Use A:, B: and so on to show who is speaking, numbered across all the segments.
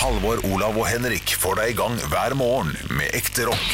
A: Halvor, Olav og Henrik får deg i gang hver morgen med ekte rock.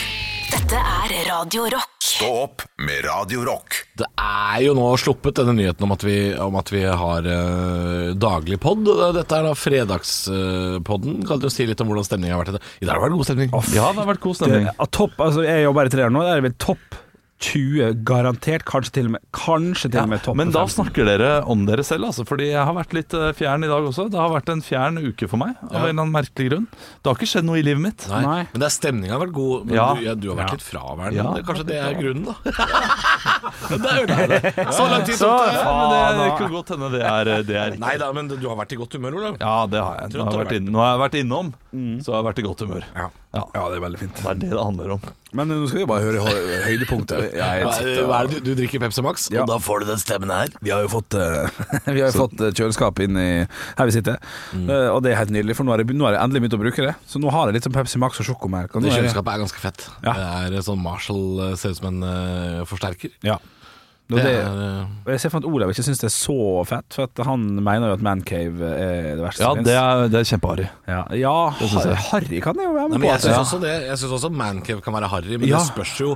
B: Dette er Radio Rock.
A: Stå opp med Radio Rock.
C: Det er jo nå sluppet denne nyheten om at vi, om at vi har eh, daglig pod. Dette er da fredagspodden. kan du si litt om hvordan stemningen har vært? i dag? I dag har det vært god stemning.
D: Ja, det har vært god
E: Det,
D: stemning.
E: ja, topp, altså jeg jobber i tre år nå, det er vel topp 20 garantert, kanskje til og med, kanskje til og med
D: Ja,
E: topp
D: men da
E: 15.
D: snakker dere om dere selv, altså. Fordi jeg har vært litt eh, fjern i dag også. Det har vært en fjern uke for meg, av en eller annen merkelig grunn. Det har ikke skjedd noe i livet mitt.
C: Nei.
E: Nei.
C: Men det er stemninga har vært god. Men
D: Ja.
C: du, ja, du har vært
E: Ja.
C: litt fraværende.
D: Ja.
C: Det- Kanskje det er grunnen, da. det er jo det. Så lang tid
D: Så,
C: tok det.
D: ja, men det, det
E: faen,
D: kan godt hende det er, eh, det er
C: Nei da, men du har vært i godt humør, Olav.
D: Ja, det har jeg. Nå har jeg vært, inn, nå har jeg vært innom, så har jeg vært i godt humør.
C: Ja.
F: det er veldig fint.
D: Det er det det handler om.
F: Men nå skal vi bare høre hø- høydepunktet. Jeg
C: Hva,
F: sitter og-
C: hva er det du, du drikker Pepsi Max,
F: Ja.
C: og da får du den stemmen her.
F: Vi har jo fått, eh, vi har jo fått eh, kjøleskap inn i her vi sitter,
D: Mm.
F: Eh, og det er helt nydelig, for nå har, jeg, nå har jeg endelig begynt å bruke det. Så nå har jeg litt sånn Pepsi Max og sjokomelk. og nå
C: Det
F: er jeg-
C: kjøleskapet er ganske fett.
F: Ja.
C: Det er sånn Marshall eh, ser ut som en eh, forsterker.
F: Ja. Og,
C: Det
F: det,
C: er, eh,
F: og jeg ser for meg at Olav ikke syns det er så fett, for at han mener jo at Mancave eh, er det verste
D: Ja,
F: som
D: det
F: finnes.
D: er, det er kjempeharry.
F: Ja, ja
D: synes jeg.
F: har- harry kan jeg jo være
C: Nei,
F: med
C: men
F: på.
C: jeg syns
F: at-
C: også, det- jeg synes også mancave kan være harry, men
F: Ja.
C: det spørs jo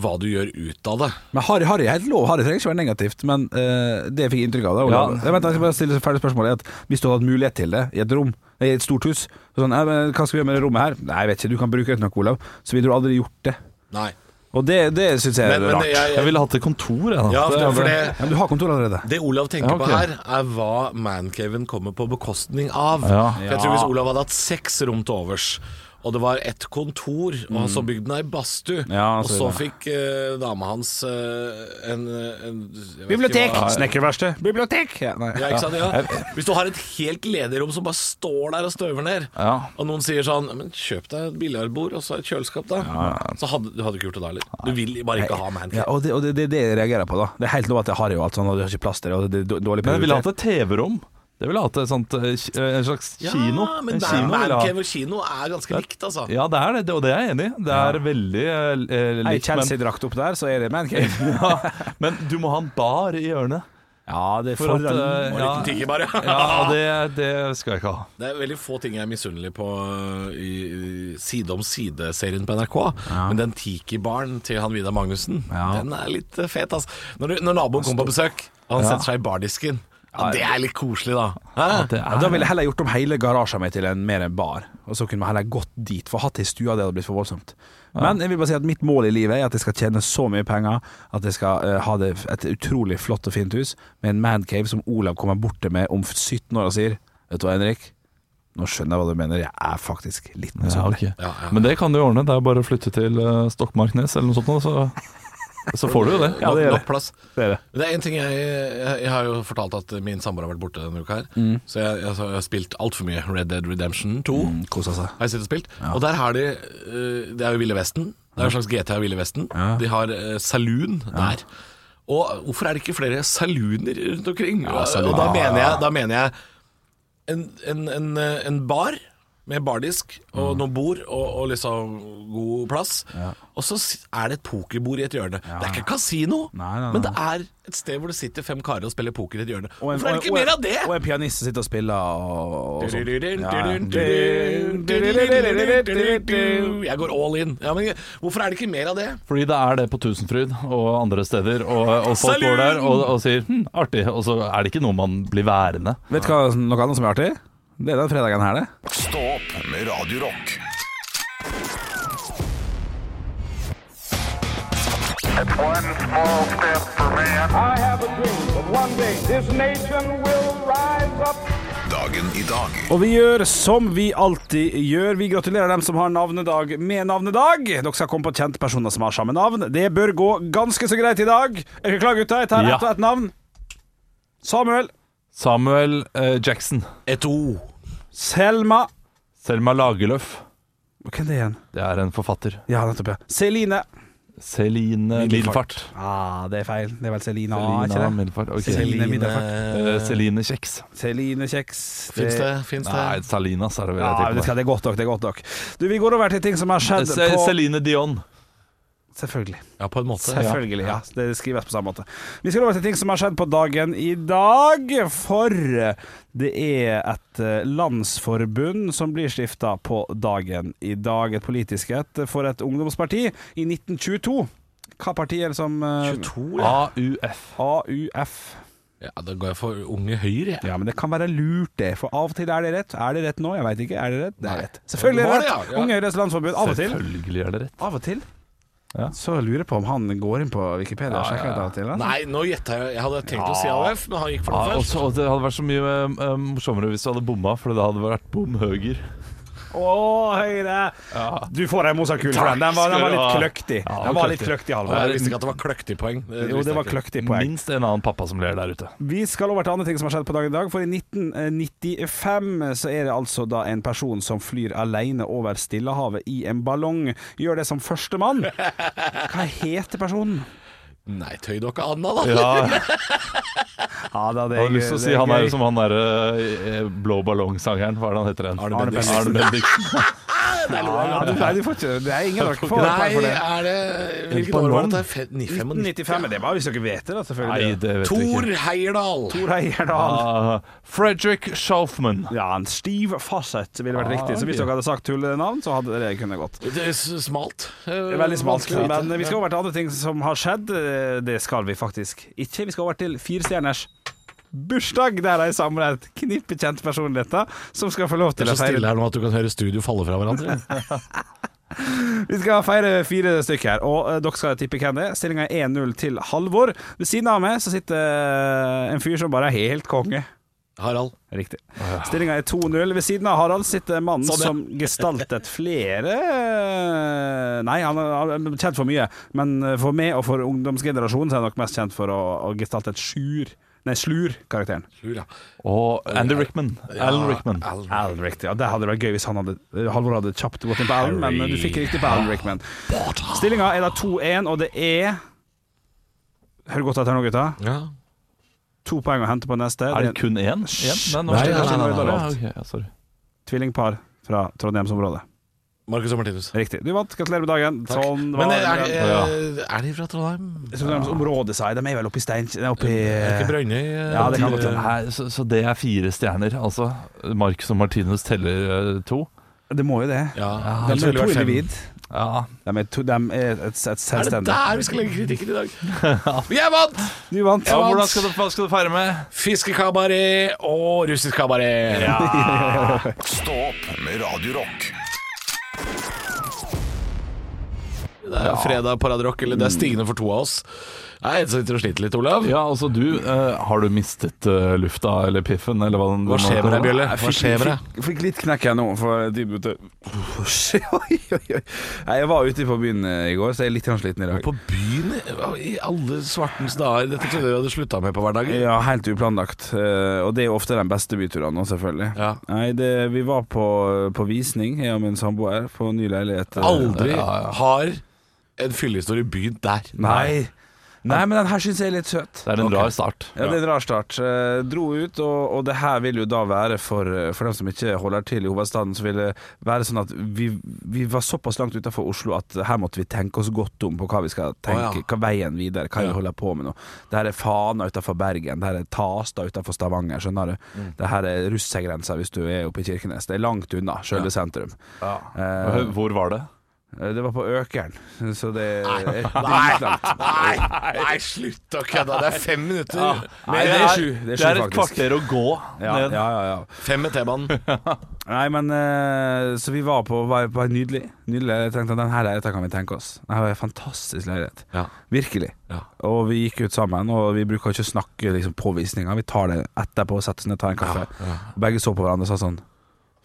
C: hva du gjør ut av det.
F: Men Harry, Harry er helt lov. Harry trenger ikke være negativt, men eh, det jeg fikk inntrykk av da Olav.
D: Ja.
F: Jeg, vent, jeg skal bare stille et ferdig spørsmål. er At hvis du hadde hatt mulighet til det i et rom, i et stort hus så sånn, «Nei, men Hva skal vi gjøre med det rommet her? Nei, jeg vet ikke, du kan bruke det til noe, Olav. Så ville du aldri gjort det.
C: Nei.
F: Og det, det syns jeg er
C: Men, men
F: rart.
C: jeg,
D: Jeg
C: jeg,
D: ville hatt et kontor, jeg, da.
C: ja, for, for det,
F: Ja, men du har kontor allerede.
C: det Olav tenker
D: Ja, ok.
C: på her, er hva mancaven kommer på bekostning av.
D: Ja.
C: For jeg tror Hvis Olav hadde hatt seks rom til overs, og det var et kontor, og han så bygde den ei badstue,
F: Ja,
C: og
F: så
C: Mm. så
F: videre.
C: fikk eh, dama hans eh, en, en jeg vet ikke
E: Bibliotek!
C: hva-
E: Snekkerverksted.
F: Bibliotek! Ja, nei.
C: Ja, ikke sant? Ja. Hvis du har et helt ledig rom som bare står der og støver ned,
D: Ja.
C: og noen sier sånn Men kjøp deg et billiardbord og så et kjøleskap, da. Så hadde du hadde ikke gjort det da heller. Du vil bare ikke ha
F: Ja,
C: mancave.
F: og det, og det, det, er det jeg reagerer på, da. Det er helt lov at det er harry og alt sånt, og du har ikke plass til det, og det er dår- dårlig
D: Men jeg ville
F: prioritet.
D: hatt et TV-rom. Det ville jeg hatt et sånt, eh, ki- eh, en slags kino.
C: Ja,
D: En
C: men
D: kino ville jeg hatt.
C: mancave og kino er ganske likt, altså.
D: Ja, det er det, det- og det er jeg enig i. Det er veldig eh,
F: Ei
D: likt, men,
F: Chelsea-drakt opp der, så er det mancave.
D: ja, men du må ha en bar i hjørnet.
F: Ja, det er
D: For at,
F: foran-
D: eh, ja,
C: Liten tigger bare.
D: ja, og det, det skal jeg ikke ha.
C: Det er veldig få ting jeg er misunnelig på øh, i i Side om side-serien på NRK, men den tiki-baren til han Vidar Magnussen, den er litt øh, fet, altså. Når, du, når naboen kommer på besøk, og han setter seg i bardisken, ja, det er litt koselig, da. Hæ?
D: Det
F: Ja,
D: er,
F: da ville jeg heller gjort om hele garasjen min til en, mer en bar, og så kunne man heller gått dit. For hatt i stua, det hadde blitt for voldsomt. Men jeg vil bare si at mitt mål i livet er at jeg skal tjene så mye penger at jeg skal eh, ha det et utrolig flott og fint hus med en mancave som Olav kommer bort til meg om 17 år og sier Vet du hva, Henrik? Nå skjønner jeg hva du mener. Jeg er faktisk litt
D: ja,
F: misunnelig.
D: ok. Men det kan du ordne. Det er bare å flytte til eh, Stokmarknes eller noe sånt, nå, så, så får du jo det.
F: Ja, det gjør
C: nok,
F: det.
C: nok plass.
F: Det er det.
C: Men Det er en ting jeg, jeg, jeg har jo fortalt at min samboer har vært borte denne uka her.
F: Mm.
C: Så jeg, jeg, har- jeg har spilt altfor mye Red Dead Redemption 2.
F: Kosa seg.
C: Har jeg sittet og spilt. Og der har de eh, Det er jo Ville Vesten. Det er en slags GTA i Ville Vesten. De har eh, saloon der. Og hvorfor er det ikke flere salooner rundt omkring? og da mener jeg, da mener jeg en, en, en, eh, en bar med bardisk og
F: Mm.
C: noen bord og, og liksom god plass. Og så si- er det et pokerbord i et hjørne. Det er ikke kasino,
F: Nei, nei, nei.
C: men det er et sted hvor det sitter fem karer og spiller poker i et hjørne.
F: Og en-
C: Hvorfor er det ikke
F: og en-
C: mer av det?
F: Og en pianist som sitter og spiller og, og sånn.
C: Jeg går all in. Ja, men hvorfor er det ikke mer av det?
D: Fordi det er det på Tusenfryd og andre steder, og, og folk går der og, og sier hm, 'artig', og så er det ikke noe man blir værende.
F: Vet du hva noe annet som er artig? Det er den fredagen her, det.
A: Stå opp med Radio Rock.
G: It's one small step for man.
H: I have a dream that one day this nation will rise up.
A: Dagen i dag.
F: Og vi gjør som vi alltid gjør. Vi gratulerer dem som har navnedag med navnedag. Dere skal komme på kjente personer som har samme navn. Det bør gå ganske så greit i dag. Er dere klare, gutta? Jeg tar
D: Ja.
F: ett og ett navn. Samuel.
D: Samuel eh, Jackson.
C: Et O.
F: Selma.
D: Selma Lagerløf.
F: Hvem er det igjen?
D: Det er en forfatter.
F: Ja, nettopp. ja Celine.
D: Celine Middelfart.
F: Ah, det er feil. Det er vel Selina, ikke
D: Selina
F: det?
D: Middelfart. ok.
F: Celine Middelfart.
D: Eh, Celine Kjeks.
F: Celine Kjeks.
C: Fins det? Fins det?
D: Nei, Salinas er det vel
F: Ja,
D: jeg
F: vet du hva, det
D: tenker
F: er godt nok. det er godt nok Du, Vi går over til ting som har
D: på.
F: skjedd
D: Se-
F: på
D: Celine Dion.
F: Selvfølgelig.
C: Ja, på en måte.
F: Selvfølgelig, ja. Det skrives på samme måte. Vi skal over til ting som har skjedd på dagen i dag, for det er et eh, landsforbund som blir stifta på dagen i dag. Et politisk et for et ungdomsparti i 1922. Hva parti er det som eh,
C: 22, ja.
D: AUF.
F: AUF.
C: ja. Da går jeg for Unge Høyre, jeg.
F: Ja, men det kan være lurt, det. For av og til er det rett. Er det rett nå? Jeg veit ikke. Er det rett? Det er
C: Nei.
F: rett. Selvfølgelig er
C: Det
F: det
C: var
F: rett.
C: det, ja. Ja.
F: Unge Høyres Landsforbund. Av og til.
D: Selvfølgelig er det rett.
F: Av og til.
D: Ja.
F: Så lurer jeg på om han går inn på Wikipedia og sjekker litt av og til. altså.
C: Nei, nå gjetta jeg. Jeg hadde tenkt å si AUF, men han gikk for
D: Ja,
C: det
D: og
C: først.
D: så- og det hadde vært så mye eh, morsommere hvis du hadde bomma, for det hadde vært bom høger.
F: Å, Høyre! Du får ei mosakul for den. Den var, den var litt kløktig. Den var litt kløktig,
C: Og jeg visste
F: Halvor.
C: ikke at det var kløktig poeng.
F: Jo, det var kløktig poeng.
D: Minst en annen pappa som ler der ute.
F: Vi skal over til andre ting som har skjedd på dagen i dag. For i 1995 så er det altså da en person som flyr alene over Stillehavet i en ballong. Gjør det som førstemann. Hva heter personen?
C: Nei, tøy dere Anna, da.
D: Ja,
F: Ja, da, det
D: jeg hadde lyst til å si han er
F: gøy.
D: jo som han derre eh, blå ballong-sangeren. Hva er det han heter igjen?
C: Arne Bendiksen.
D: Arne Bendiksen.
F: ja, ja, du, Nei, du får ikke Det er ingen av dere får poeng
C: Nei,
F: for det.
C: er det Hvilket år var det? Fe-
F: 1995, men det var hvis dere vet det, da,
D: Nei,
F: selvfølgelig.
D: det vet jeg ikke.
C: Tor Heyerdahl.
F: Tor Heyerdahl.
D: Ah, Fredrik Schaufman.
F: Ja, en stiv fasett ville vært
D: Ah,
F: riktig. Så hvis
D: ok.
F: dere hadde sagt tullenavn, så hadde det kunne gått.
C: Det er s- smalt. Eh,
F: Det er Veldig smalt.
C: vanskelig å vite.
F: Men vi skal over til andre ting som har skjedd. Eh, Det skal vi faktisk ikke. Vi skal over til firestjerners bursdag, der de samler et knippe kjente personligheter som skal få lov
C: Det
F: til
C: er
F: å
C: så stille
F: feire.
C: her nå at du kan høre studio falle fra hverandre.
F: Vi skal feire fire stykker her, og eh, dere skal tippe hvem det er. Stillinga er 1-0 til Halvor. Ved siden av meg så sitter eh, en fyr som bare er helt konge.
C: Harald.
F: Riktig. Stillinga er 2-0. Ved siden av Harald sitter mannen
C: Sånn, ja.
F: som gestaltet flere eh, Nei, han er han er kjent for mye, men eh, for meg og for ungdomsgenerasjonen så er han nok mest kjent for å, å gestalte et sjur. Nei, slur-karakteren.
C: Lura.
D: Og Andy Rickman. Alan Rickman.
C: Al-
F: Al Riktig. Ja, det hadde vært gøy hvis han hadde, eh, Halvor hadde kjapt gått inn på Alan, men du fikk riktig på Alan Rickman. Stillinga er da 2-1, og det er Hør godt etter nå, gutta.
C: Ja.
F: To poeng å hente på neste.
D: Er det
F: det er
D: kun én? Én?
C: Nei, nei, nei, nei, nei.
D: Sorry.
F: Tvillingpar fra Trondheimsområdet.
C: Marcus og Martinus.
F: Riktig. Du vant. Gratulerer med dagen.
C: Takk.
F: Sånn var
C: Men er, er,
F: det.
C: er, er de fra Trondheim?
F: Jeg tror de området seg, de er vel oppe i stein... Nei, oppe i
C: Er ikke Brønnøy eh,
F: Ja, det kan
C: til-
F: godt hende.
D: Her, så, så det er fire stjerner, altså. Marcus og Martinus teller eh, to.
F: Det må jo det.
C: Ja,
F: De
C: ellers ville det
F: er to
C: vært fem.
F: individ.
D: Ja.
F: De er, to, de er et,
C: Er
F: et
C: det
F: selvstendig
C: der vi skal legge kritikken i dag? Jeg vant!
F: Du vant.
D: ja hvordan skal du, hva skal du feire med?
C: Fiskekabaret og russisk kabaret.
A: Stå opp med Radio Rock.
C: Det er fredag på Radio Rock, eller det er stigende for to av oss. Jeg er en som sitter og sliter litt, Olav.
D: Ja, altså du, eh, Har du mistet eh, lufta eller piffen? Eller hva, den,
C: Hva skjer med deg, Bjølle? Hva skjer med deg?
F: Fikk, fikk litt knekk her nå, for de begynte Oi, oi, oi. Nei, Jeg var ute på byen eh, i går, så jeg er litt grann sliten i dag.
C: På byen i alle svartens dager. Dette trodde jeg du hadde slutta med på hverdagen.
F: Ja, helt uplanlagt. Eh, Og det er jo ofte de beste byturene nå, selvfølgelig.
C: Ja.
F: Nei, det, vi var på, på visning, jeg og min samboer, på ny leilighet. eh,
C: Aldri har en fyllehistorie begynt der.
F: Nei. Nei, men den her syns jeg er litt søt.
D: Det er en
F: Ok.
D: rar start.
F: Ja, det er en rar start. Eh, dro ut, og, og det her vil jo da være for, eh, for dem som ikke holder til i hovedstaden, så vil det være sånn at vi, vi var såpass langt utenfor Oslo at her måtte vi tenke oss godt om på hva vi skal tenke,
C: Å, ja.
F: hva veien videre, hva vi holder på med nå. Det her er Fana utenfor Bergen, det her er Tasta utenfor Stavanger, skjønner du.
C: Mm.
F: Det her er russegrensa hvis du er oppe i Kirkenes. Det er langt unna, sjølve sentrum. Eh,
D: Hvor var det?
F: det var på Økeren, så det er dritlangt.
C: Nei, nei slutt å kødde! Det er fem minutter.
F: Nei, det er sju, det er sju
D: et
F: faktisk.
D: kvarter å gå
F: Ja, ja,
D: ned.
F: ja, ja.
C: Fem med T-banen.
F: Nei, men eh, Så vi var på var, var nydelig. nydelig. Jeg tenkte at den her leiligheten kan vi tenke oss. Den her var en fantastisk leilighet.
C: Ja.
F: Virkelig.
C: Ja.
F: Og vi gikk ut sammen, og vi bruker ikke å snakke liksom, på visninga. Vi tar det etterpå, setter oss ned, tar en kaffe. Begge så på hverandre og sa sånn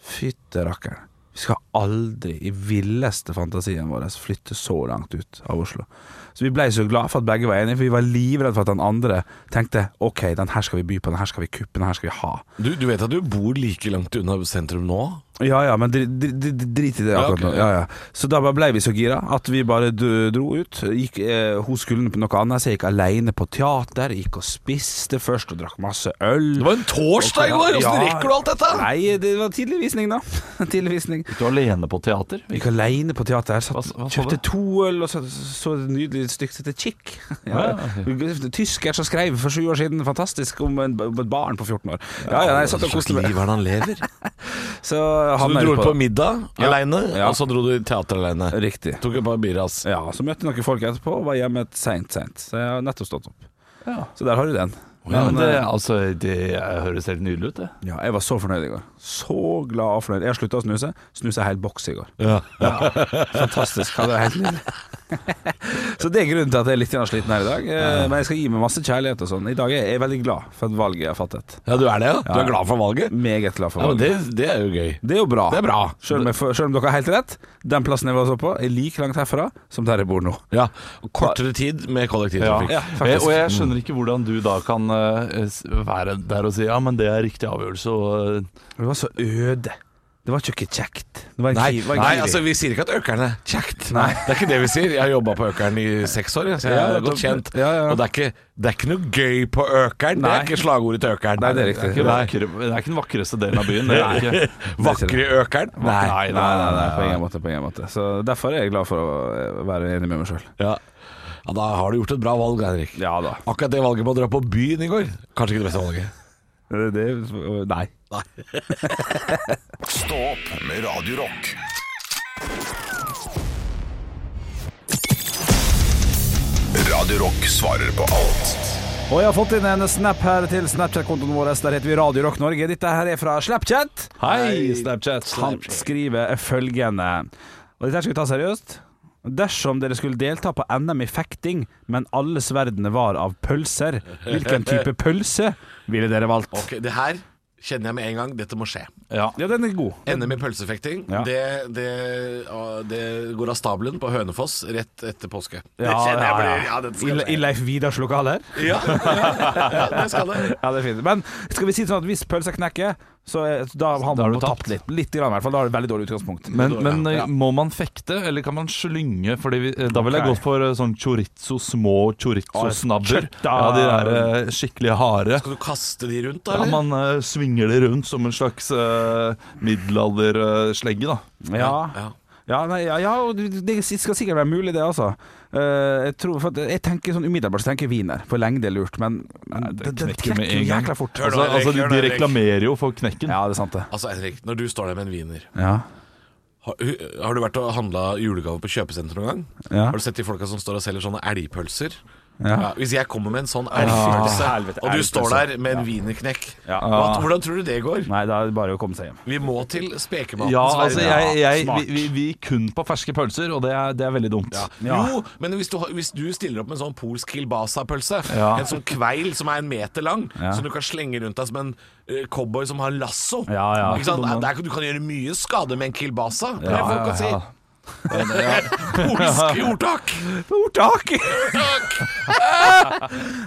F: Fytte rakkeren. Vi skal aldri i villeste fantasien vår flytte så langt ut av Oslo. Så vi blei så glad for at begge var enige, for vi var livredde for at den andre tenkte OK, den her skal vi by på, den her skal vi kuppe, den her skal vi ha.
C: Du, du vet at du bor like langt unna sentrum nå
F: Ja ja, men dri- dri- dri- drit i det
C: Ja, ok,
F: akkurat nå. Ja, ja. Så da bare ble vi så gira at vi bare d- dro ut. Gikk, eh, hun skulle på noe annet, så jeg gikk alene på teater. Gikk og spiste først og drakk masse øl.
C: Det var en torsdag i går! Åssen rekker du alt dette?
F: Nei, det var tidlig visning, da. tidlig visning.
D: Gikk du alene på teater?
F: Jeg Gikk alene på teater. Satt,
D: Hva- hva så
F: kjøpte
D: du?
F: to øl og så, så et nydelig stykke til Chick. Ja,
D: Ja,
F: Tysker som skrev for sju år siden, fantastisk, om en, om et barn på 14 år. Ja, ja, jeg satt og koste meg.
C: liv er det han lever?
F: Så,
C: Så
F: han
C: du
F: er
C: dro
F: på-
C: på middag
F: Ja.
C: alene
F: Ja.
C: og så dro du i teater alene
F: Riktig.
C: Tok et par biras.
F: Ja, så møtte jeg noen folk etterpå og var hjemme seint, seint. Så jeg har nettopp stått opp. Så der har du den. eh,
D: Ja, men det, altså, det eh, høres helt nydelig ut, det.
F: Ja, jeg var så fornøyd i går. Så glad og fornøyd. Jeg har slutta å snuse. Snusa en hel boks i går.
C: Ja.
F: Fantastisk. Ja, det er helt nydelig. så det er grunnen til at jeg er litt grann sliten her i dag. Eh, Men jeg skal gi meg masse kjærlighet og sånn. I dag er jeg veldig glad for at valget jeg har fattet.
C: Ja, du er det, ja? Du er glad for valget?
F: Meget glad for
C: Ja, men
F: valget.
C: det, det er jo gøy.
F: det er jo bra.
C: Det er bra.
F: Selv om, jeg, får- selv om dere har helt rett, den plassen jeg var så på, er like langt herfra som der jeg bor nå.
C: Ja, Kortere tid med kollektivtrafikk.
D: Ja, Eh, og jeg skjønner ikke hvordan du da kan eh, s- være der og si ja, men det er riktig avgjørelse. Og, eh,
F: Det var så øde. Det var ikke kjekt. Det var en
C: Nei,
F: kiv- det var en
C: nei,
F: kiwi.
C: altså vi sier ikke at Økeren er kjekt. Det er ikke det vi sier. Jeg har jobba på Økeren i seks år, jeg, så jeg
F: Ja,
C: er godt kjent.
F: ja, ja.
C: Og det er, ikke, det er ikke noe gøy på Økeren. Det
F: Nei.
C: er ikke slagordet til Økeren.
F: Nei, det er riktig.
D: det, er
C: Nei.
D: ikke vakre, det er ikke den vakreste delen av byen. Det er det ikke.
C: Vakre Økeren? Nei.
D: Nei,
F: Nei, nei, nei, på ingen måte. På ingen måte. Så Derfor er jeg glad for å eh, være enig med meg sjøl.
C: Ja. ja, da har du gjort et bra valg, Henrik.
F: Ja da.
C: Akkurat det valget med å dra på byen i går, kanskje ikke det beste valget.
F: Det, nei.
A: Stå opp med Radio Rock. Radio Rock svarer på alt.
F: Og jeg har fått inn en snap her til Snapchat-kontoen vår. Der heter vi Radio Rock Norge. Dette her er fra Snapchat.
D: Hei, Snapchat.
F: Han skriver følgende Og dette her skal vi ta seriøst. Dersom dere skulle delta på NM i fekting, men alle sverdene var av pølser, hvilken type pølse ville dere valgt?
C: Ok, Det her kjenner jeg med en gang. Dette må skje.
D: Ja.
F: Ja, den er god.
C: NM i pølsefekting,
F: Ja.
C: det, det, å, det går av stabelen på Hønefoss rett etter påske.
F: Ja,
C: kjenner jeg
F: ja,
C: bare.
F: ja.
C: Ja, dette
F: I,
C: skal
F: I
C: skje.
F: Leif Vidars lokaler?
C: Ja, ja, ja, det skal det.
F: Ja, det er fint. Men skal vi si det sånn at hvis pølsa knekker, så er, da har
D: Da har
F: man
D: du
F: tapt
D: tapt.
F: litt. Litt grann, i hvert fall. Da har du et veldig dårlig utgangspunkt.
D: Men,
C: Ja.
D: men eh, må man fekte, eller kan man slynge? Fordi vi, eh, da ville
F: Ok.
D: jeg gått for eh, sånn chorizo, små chorizo-snabber.
F: kjøtt,
D: Ja,
F: da.
D: de der eh, skikkelig harde.
C: Skal du kaste de rundt, da?
D: Ja,
C: eller?
D: man eh, svinger de rundt som en slags eh, middelalderslegge, da.
F: Ja.
C: Ja.
F: Ja, nei, ja, ja og det skal sikkert være mulig, det, altså. Eh, jeg, tror, for at jeg tenker sånn umiddelbart så tenker jeg wiener. For lengde er lurt, men men
D: det
F: den den
D: knekker med
F: knekker
D: en
F: jo
D: gang.
F: jækla fort.
C: Hør
D: Altså,
C: nå, Henrik,
D: altså de,
C: hør nå,
D: de
C: Henrik.
D: reklamerer jo for knekken.
F: Ja, det er sant, det.
C: Altså, Henrik, når du står der med en wiener,
F: Ja.
C: har, hu- har du vært og handla julegave på kjøpesenter noen gang?
F: Ja.
C: Har du sett de folka som står og selger sånne elgpølser?
F: Ja.
C: Ja, hvis jeg kommer med en sånn elgpølse,
F: helvete,
C: og du
F: elgpølse.
C: står der med en wienerknekk,
F: Ja.
C: hva- hvordan tror du det går?
F: Nei, da er det bare å komme seg hjem.
C: Vi må til spekematen.
D: Ja,
C: Sverre.
D: altså jeg, jeg,
F: smart.
D: vi, vi, vi gikk kun på ferske pølser, og det er, det er veldig dumt.
F: Ja.
C: Jo, men hvis du, har- hvis du stiller opp med en sånn polsk kilbasa-pølse,
D: Ja.
C: en sånn kveil som er en meter lang, som du kan slenge rundt deg som en eh, cowboy som har lasso
F: Ja, ja.
C: Ikke sant? Det er- Du kan gjøre mye skade med en kilbasa, er det folk kan si.
D: ja.
C: Polsk ordtak!
F: Ordtak!
C: Takk!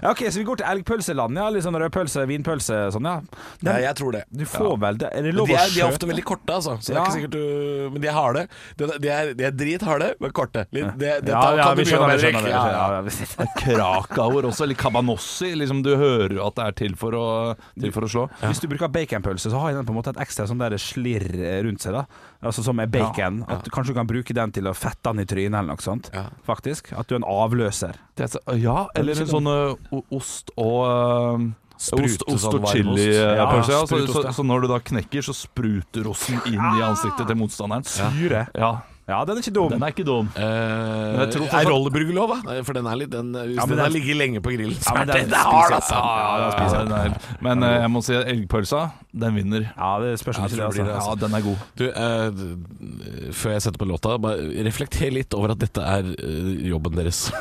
F: ja, ok, så vi går til elgpølseland, ja. Litt sånn rødpølse, vinpølse, sånn, ja.
C: Ja, jeg tror det.
F: Du får vel det. Er det
C: Men
F: lov
C: De
F: å
C: er, de er
F: skjøte?
C: ofte veldig korte, altså. Så det
F: Ja.
C: er ikke sikkert du Men de er harde. De er, de er, de er dritharde, men korte. Litt, det, det
F: Ja,
C: tar-
F: ja,
C: kan du mye
F: vi
C: om,
F: skjønner, vi
C: Henrik.
F: skjønner. vi
C: Ja, ja.
F: skjønner, ja, vi skjønner.
D: Krakauer også, eller kabanossi. Liksom, du hører jo at det er til for å, til for å slå.
F: Hvis du bruker baconpølse, så har den på en måte et ekstra sånn der slirr rundt seg. da Altså Som er bacon. At Kanskje du kan bruke den til å fette den i trynet eller noe sånt.
C: Ja.
F: Faktisk. At du er en avløser.
D: Det er, så- ja, eller en sånn ø, o- ost og ø, Ost, ost
C: sånn
D: og
C: varmost.
D: chili-pølse.
F: Ja,
D: Ja, så,
F: sprutost,
D: så,
F: ja.
D: så når du da knekker, så spruter osten inn i ansiktet til motstanderen.
F: Syre.
D: Ja,
F: Ja, den er ikke dum.
D: Den er ikke dum.
C: Eh,
D: jeg tror fortsatt-
C: er rolleburger lov, da? Nei, For den er litt den, Hvis
F: men
C: den har
F: den-
C: ligget lenge på grillen, så
F: men
C: er
F: den
C: det det hard,
F: spiser-
C: altså!
D: Ja, den er, men ø, jeg må si at elgpølsa, den vinner.
F: Ja, det spørs om
C: Ja,
F: ikke
C: jeg tror
F: det,
C: det
F: altså.
C: blir det, altså.
D: Ja, den er god.
C: Du, eh, d- før jeg setter på låta, bare reflekter litt over at dette er eh, jobben deres.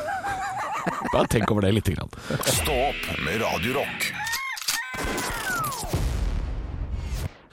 C: Bare tenk over det lite grann.
A: Stå opp med Radio Rock.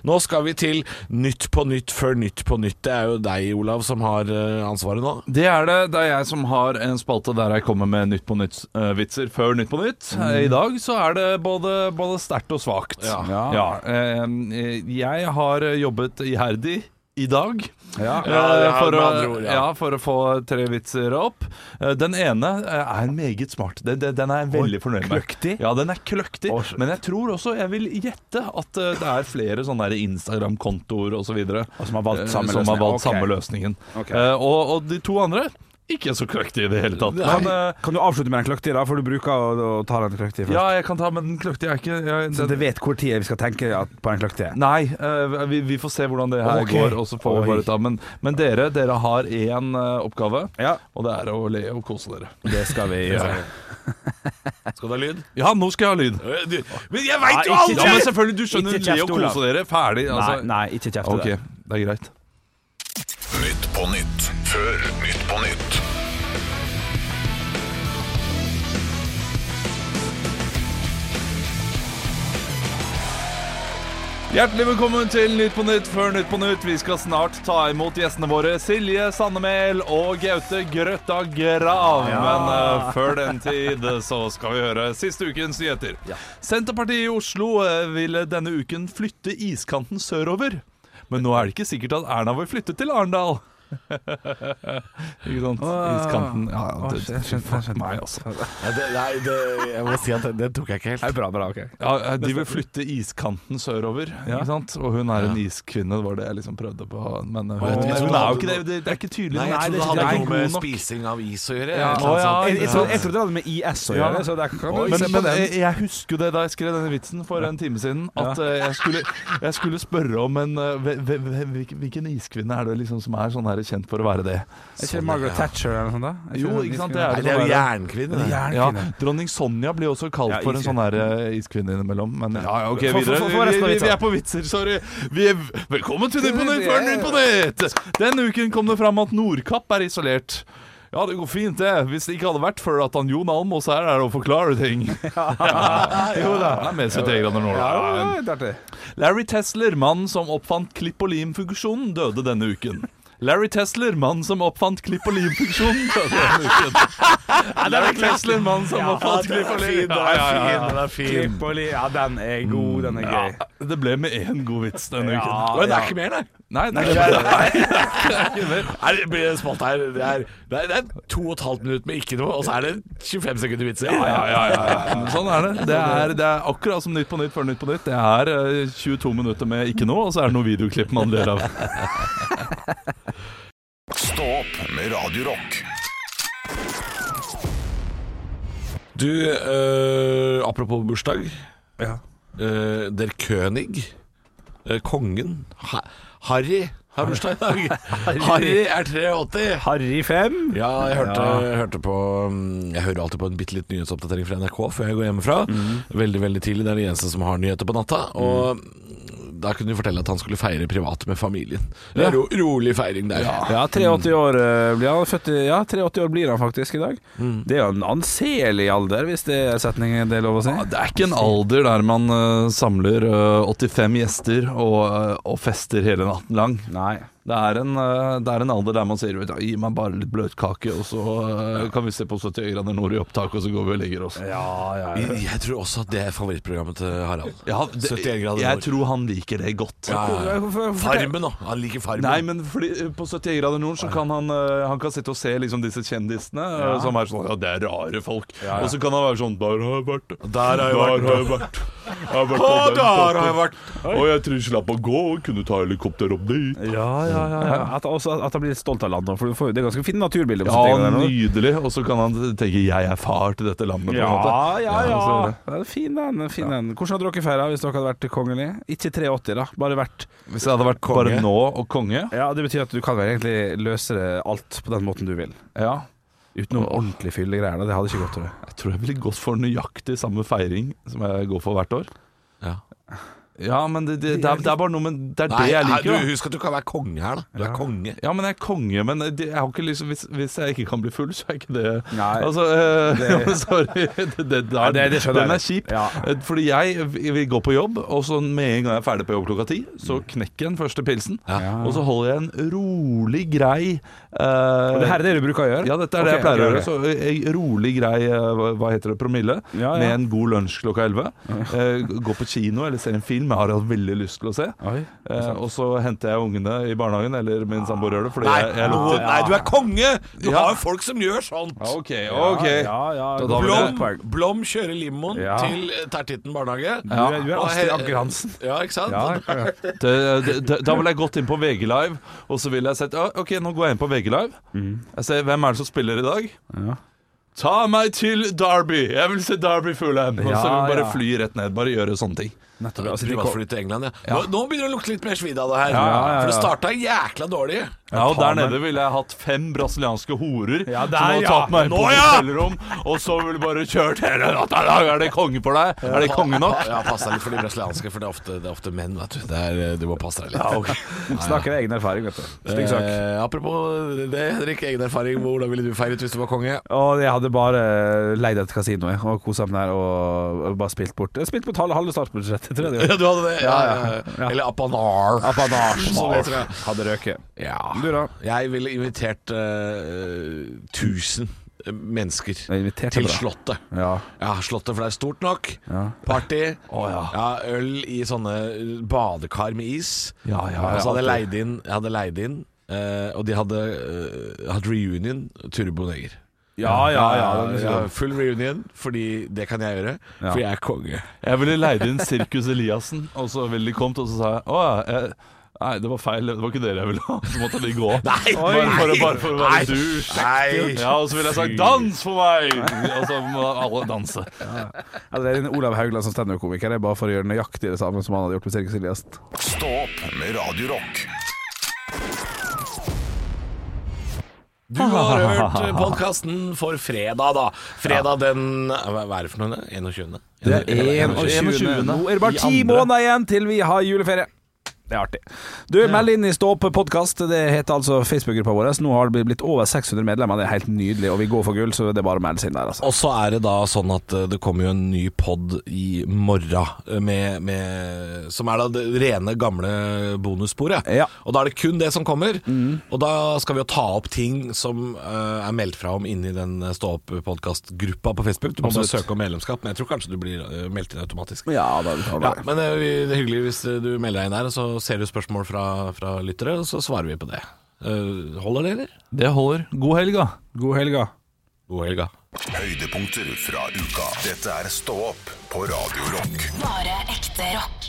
C: Nå skal vi til Nytt på nytt før Nytt på nytt. Det er jo deg, Olav, som har eh, ansvaret nå.
D: Det er det. Det er jeg som har en spalte der jeg kommer med Nytt på nytt-vitser før Nytt på nytt. Eh, I dag så er det både, både sterkt og svakt. Ja. eh, jeg har jobbet iherdig i dag eh,
C: Ja, det er
D: for,
C: med
D: å,
C: andre ord, ja.
D: ja. for å få tre vitser opp. Eh, Den ene eh, er meget smart. Den, den- den er jeg veldig fornøyd med.
F: kløktig.
D: Ja, den er kløktig. Men jeg tror også jeg vil gjette at eh, det er flere sånne der Instagram-kontoer osv.
F: som har valgt samme
D: eh, som har
F: løsning. Ok.
D: valgt samme løsningen. Eh, og, og de to andre ikke så kløktige i det hele tatt. Men, eh,
F: Kan du avslutte med den kløktige, da? For du bruker å, å ta den kløktige først.
D: ja, jeg kan ta med den kløktige. Jeg er ikke, jeg,
F: Så
D: den,
F: du vet hvor tid vi skal tenke at- på den kløktige.
D: nei, eh, vi, vi får se hvordan det her
F: Ok.
D: går. Og så
F: Oi.
D: får vi bare ta Men, men dere, dere har én eh, oppgave,
F: Ja.
D: og det er å le og kose dere.
F: Det skal vi gjøre.
C: Skal du ha lyd?
D: Ja, nå skal jeg ha lyd.
C: Eh, du- Men jeg veit jo
F: Nei, ikke-
D: Ja,
C: aldri!
D: men selvfølgelig, du skjønner.
F: Ikke
D: Le
F: kjeft,
D: og
F: Olav.
D: kose dere. Ferdig.
F: Nei,
D: Altså.
F: nei, ikke kjeft
D: Ok,
F: til det.
D: det er greit.
A: Nytt på nytt før Nytt på nytt.
D: Hjertelig velkommen til Nytt på Nytt før Nytt på Nytt. Vi skal snart ta imot gjestene våre Silje Sandemel og Gaute Grøtta Grav. Men eh, før den tid eh, så skal vi høre siste ukens nyheter. Senterpartiet i Oslo eh, ville denne uken flytte iskanten sørover. Men nå er det ikke sikkert at Erna vil flytte til Arendal. ikke sant? Iskanten Ja, ja, det, fuck meg, altså.
C: Nei, det, nei det, jeg må si at den, den tok jeg ikke helt.
F: Bra, bra, ok.
D: Ja, eh, de vil flytte iskanten sørover, ikke sant? Og hun er en iskvinne, det var det jeg liksom prøvde på. Men hun,
C: jeg trodde
D: hun er
C: det
D: jo ikke det,
C: hadde-
D: det, det er ikke tydelig.
C: Nei,
D: nok.
C: jeg trodde det
D: Nei,
C: hadde
D: er
C: noe med
D: god nok.
C: spising av is å gjøre.
D: Ja.
C: eller noe
D: Å, ja,
C: sånt.
F: Jeg, jeg, trodde,
D: ja.
F: jeg trodde det hadde med IS å
D: Ja.
F: gjøre, så der kan
D: Oi,
F: du
D: men,
F: se på
D: men
F: den.
D: jeg, jeg husker jo det da jeg skrev denne vitsen for en time siden, at eh, jeg, skulle, jeg skulle spørre om en eh, hve- hve- hve- hvilken- Hvilken iskvinne er det liksom som er sånn her kjent for å være det?
F: Er ikke Margaret Thatcher eller noe sånt? da? Er
D: Jo,
F: det
D: ikke sant,
F: de
D: det er
C: Nei,
D: det
C: det er
D: som
C: jo
D: er det.
C: jernkvinne. det.
D: Ja,
F: Jernkvinne.
D: Dronning Sonja blir også kalt
F: Ja,
D: for en sånn
F: iskvinne.
D: her eh, iskvinne innimellom. Men ja, ja, ok,
F: Få- få-
D: videre.
F: få- få resten av
D: vi, vi,
F: vitsa.
D: vi er på vitser, sorry. Vi er, velkommen til Nytt på Nytt før Nytt på Nytt! Denne uken kom det fram at Nordkapp er isolert. Ja, det går fint, det. Hvis det ikke hadde vært for at han Jon Almaas er her og forklarer ting. Ja, jo da. Han er med 71 grader nord.
F: Ja,
D: Ja,
F: det er artig.
D: Larry Tesler, mannen som oppfant klipp og lim-funksjonen, døde denne uken. Larry Tesler, mannen som oppfant klipp og lim-funksjonen, døde denne uken. Larry Tesler, mannen som oppfant klipp og lim. Ja, ja, ja, ja.
C: Den er fin.
F: Tripoli, ja, den er god, den er gøy.
D: Det ble med én god vits denne uken.
F: Ja,
C: Men det er ikke mer, nei.
D: Nei, det er ikke det.
C: Nei, det blir en spalte her. Det er, det er, det er to og et halvt minutt med ikke noe, og så er det 25 sekunder vitser. Ja, ja, ja, ja, ja.
D: Men Sånn er det. Det er, det er akkurat som Nytt på Nytt før Nytt på Nytt. Det er eh, 22 minutter med ikke noe, og så er det noen videoklipp man ler av.
A: Stå opp med Radio Rock.
C: Du, eh, apropos bursdag. Eh, der König, eh, kongen ha Harry har bursdag i dag. Harry er 83.
F: Harry 5.
C: Ja, jeg hørte, jeg hørte på mm, Jeg hører alltid på en bitte litt nyhetsoppdatering fra NRK før jeg går hjemmefra. Veldig veldig tidlig. Det er de eneste som har nyheter på natta. Og mm, da kunne de fortelle at han skulle feire privat med familien. Det er Ro, rolig feiring der.
F: Ja, 83 år eh, blir han født i, Ja, 83 år blir han faktisk i dag. Det er jo en anselig alder, hvis det er setningen det er lov å si.
D: Ja, Det er ikke en alder der man eh, samler eh, 85 gjester og, eh, og fester hele natten lang.
F: Nei.
D: Det er, en, eh, det er en alder der man sier vet du, Gi meg bare litt bløtkake, og så eh, kan vi se på 70 grader nord i opptak, og så går vi og legger oss. Ja,
C: Jeg, jeg tror også at det er favorittprogrammet til Harald.
D: det-
C: 71 grader
D: Jeg
C: nord.
D: tror han liker det godt.
C: Ja, ja, ja.
F: Hvorfor- hvorfor-
C: Eh, Farmen, da. Han liker Farmen.
D: Nei, men fordi eh, på 71 grader nord så kan han, eh, han kan sitte og se liksom disse kjendisene eh, som er sånn Ja, det er rare folk. Og så kan han være sånn Der har jeg vært.
C: Der har jeg vært.
D: har jeg vært. Jeg har vært på
C: Å,
D: den
C: der har
D: toppen.
C: jeg vært.
D: Og jeg tror jeg slapp å gå og kunne ta helikopter opp dit.
F: Ja, ja, ja, ja. At, også, at han blir litt stolt av landet, for du får, jo- det er ganske fine naturbilder. på sånne
D: Ja,
F: ting der nå.
D: nydelig. Og så kan han tenke 'jeg er far til dette landet'. på en måte.
F: Ja, ja,
D: Ja, så er
F: ja.
D: det.
F: ja fin den. Fin den. Hvordan hadde dere feira hvis dere hadde vært kongelige? Ikke 83, da. Bare vært
D: Hvis jeg hadde vært bare nå og konge
F: Ja, Det betyr at du kan vel egentlig løse alt på den måten du vil.
D: Ja,
F: Uten noen ordentlig fyllegreier. da. Det hadde ikke gått. Tror jeg.
D: jeg tror jeg ville gått for nøyaktig samme feiring som jeg går for hvert år.
C: Ja.
D: Ja, men det, det, det, er, det er bare noe med Det er det jeg
C: nei,
D: liker.
C: du,
D: da.
C: husk at du kan være konge her, da. Du er konge.
D: Ja, men jeg er konge, men det, jeg har ikke liksom, hvis, hvis jeg ikke kan bli full, så er ikke det
F: Nei.
D: Altså, eh, ja, men sorry. Det, det, der,
F: det- det skjønner jeg.
D: den er kjip.
F: Ja.
D: Eh, Fordi jeg vil gå på jobb, og så med en gang jeg er ferdig på jobb klokka ti, så
F: Mm.
D: knekker jeg den første pilsen. Og så holder jeg en rolig, grei eh,
F: Det her er det du bruker å gjøre?
D: ja, dette er det jeg pleier å gjøre. Så ei rolig, grei eh, hva- hva heter det, promille,
F: Ja, ja.
D: med en god lunsj klokka 11. Eh, Gå på kino eller se en film jeg har hatt veldig lyst til å se.
F: Oi,
D: Eh, og så henter jeg ungene i barnehagen, eller min samboer gjør det. Fordi
C: Nei,
D: jeg, jeg
C: noe-
D: lukter
C: nei, du er konge! Du
D: Ja.
C: har jo folk som gjør sånt.
D: Ja, OK, OK.
F: Ja, ja,
D: Da- da vil jeg-
C: Blom, Blom kjører limoen
F: Ja.
C: til eh, Tertitten barnehage.
F: Du er, du er
C: Og
F: Astrid
C: he-
F: Anker Hansen.
C: Ja, ikke sant?
F: Ja, ja.
D: Det- det- det- Da ville jeg gått inn på VG Live, og så ville jeg sett «Ah, OK, nå går jeg inn på VG Live.
F: Mm.
D: Jeg ser hvem er det som spiller i dag. Ta meg til Derby! Jeg vil se Derby Fulham! Og så
F: Ja,
D: vil jeg bare
F: ja.
D: fly rett ned. Bare gjøre sånne ting.
F: Nettopp. Altså, de kom-
C: Privatfly til England, ja. Nå, nå begynner det å lukte litt mer svidd av det her.
F: ja, ja,
C: For det
F: ja.
C: starta jækla dårlig.
D: Ja, og
F: ta
D: der
F: meg.
D: nede ville jeg hatt fem brasilianske horer
F: Ja, der,
D: som hadde
F: ja.
D: tatt meg inn på
F: Nå, ja!
D: hotellrom, og så ville bare kjørt hele natta. Er det konge for deg? Er det konge nok?
C: Ja, pass deg litt for de brasilianske, for det er ofte, det er ofte menn, vet du. Det er, eh, du må passe deg litt.
F: Snakker av egen erfaring, vet du. Stygg sak.
C: Eh, apropos det, Henrik. Egen erfaring. Hvordan ville du feiret hvis du var konge?
F: Og jeg hadde bare eh, leid et kasino jeg, og kosa meg der og, og bare spilt bort. Jeg spilte på halve, halve startbudsjettet, tror
C: Ja,
F: jeg. det var.
C: du hadde det? Ja,
F: Ja,
C: ja,
F: ja, ja.
C: Eller apanar.
F: Apanasje.
C: Som det heter, ja.
F: Hadde røket.
C: Ja.
F: Du da?
C: Jeg ville invitert eh, 1000 mennesker
F: Jeg inviterte
C: til
F: bra.
C: Slottet.
F: Ja.
C: Ja, Slottet, for det er stort nok. Party.
F: ja.
C: øl i sånne eh, badekar med is.
F: Ja, ja,
C: Og så hadde jeg
F: alltid.
C: leid inn, jeg hadde leid inn eh, og de hadde eh, hatt reunion, Turbo Neger.
F: Ja, ja, ja.
C: Ja, full reunion, fordi det kan jeg gjøre. For jeg er konge.
D: Jeg ville leid inn Sirkus Eliassen, og så ville de kommet, og så sa jeg Å ja. Jeg, Nei, det var feil. Det var ikke dere jeg ville ha. Så måtte de gå.
C: Nei,
D: bare, for, å- bare for å
C: nei,
D: være douche.
C: nei.
D: Ja, og så ville jeg sagt 'dans for meg'! Og så må alle danse.
F: Eller en Olav Haugland som standup-komiker. Det er bare for å gjøre nøyaktig det samme som han hadde gjort med Sirkus Eliassen.
A: Stå opp med Radio Rock.
C: Du har hørt podkasten for fredag, da. Fredag den Hva hva er det for noe? 21.?
F: Det er 21. Nå er det bare ti måneder igjen til vi har juleferie. Det er artig. Du, Meld inn i Stå opp podkast. Det heter altså Facebook-gruppa vår. Nå har det blitt over 600 medlemmer. Det er helt nydelig. Og vi går for gull, så det er bare å melde seg inn der, altså.
C: Og så er det da sånn at eh, det kommer jo en ny pod i morgen, eh, med, med, som er da det rene, gamle bonussporet.
F: Ja. Mm.
C: Og da er det kun det som kommer. Og da skal vi jo ta opp ting som eh, er meldt fra om inni den eh, Stå opp-podkast-gruppa på Facebook. Du må bare
F: Absolutt.
C: søke om medlemskap, men jeg tror kanskje du blir eh, meldt inn automatisk.
F: Ja, da, da,
C: Ja, men eh, vi- det er hyggelig hvis eh, du melder deg inn der, og så ser du spørsmål fra, fra lyttere, og så svarer vi på det. Eh, Holder det, eller?
D: Det holder. God helg, da.
F: God helg, da.
C: God helg, da.
A: Høydepunkter fra uka. Dette er Stå opp på Radio Rock.
B: Bare ekte rock.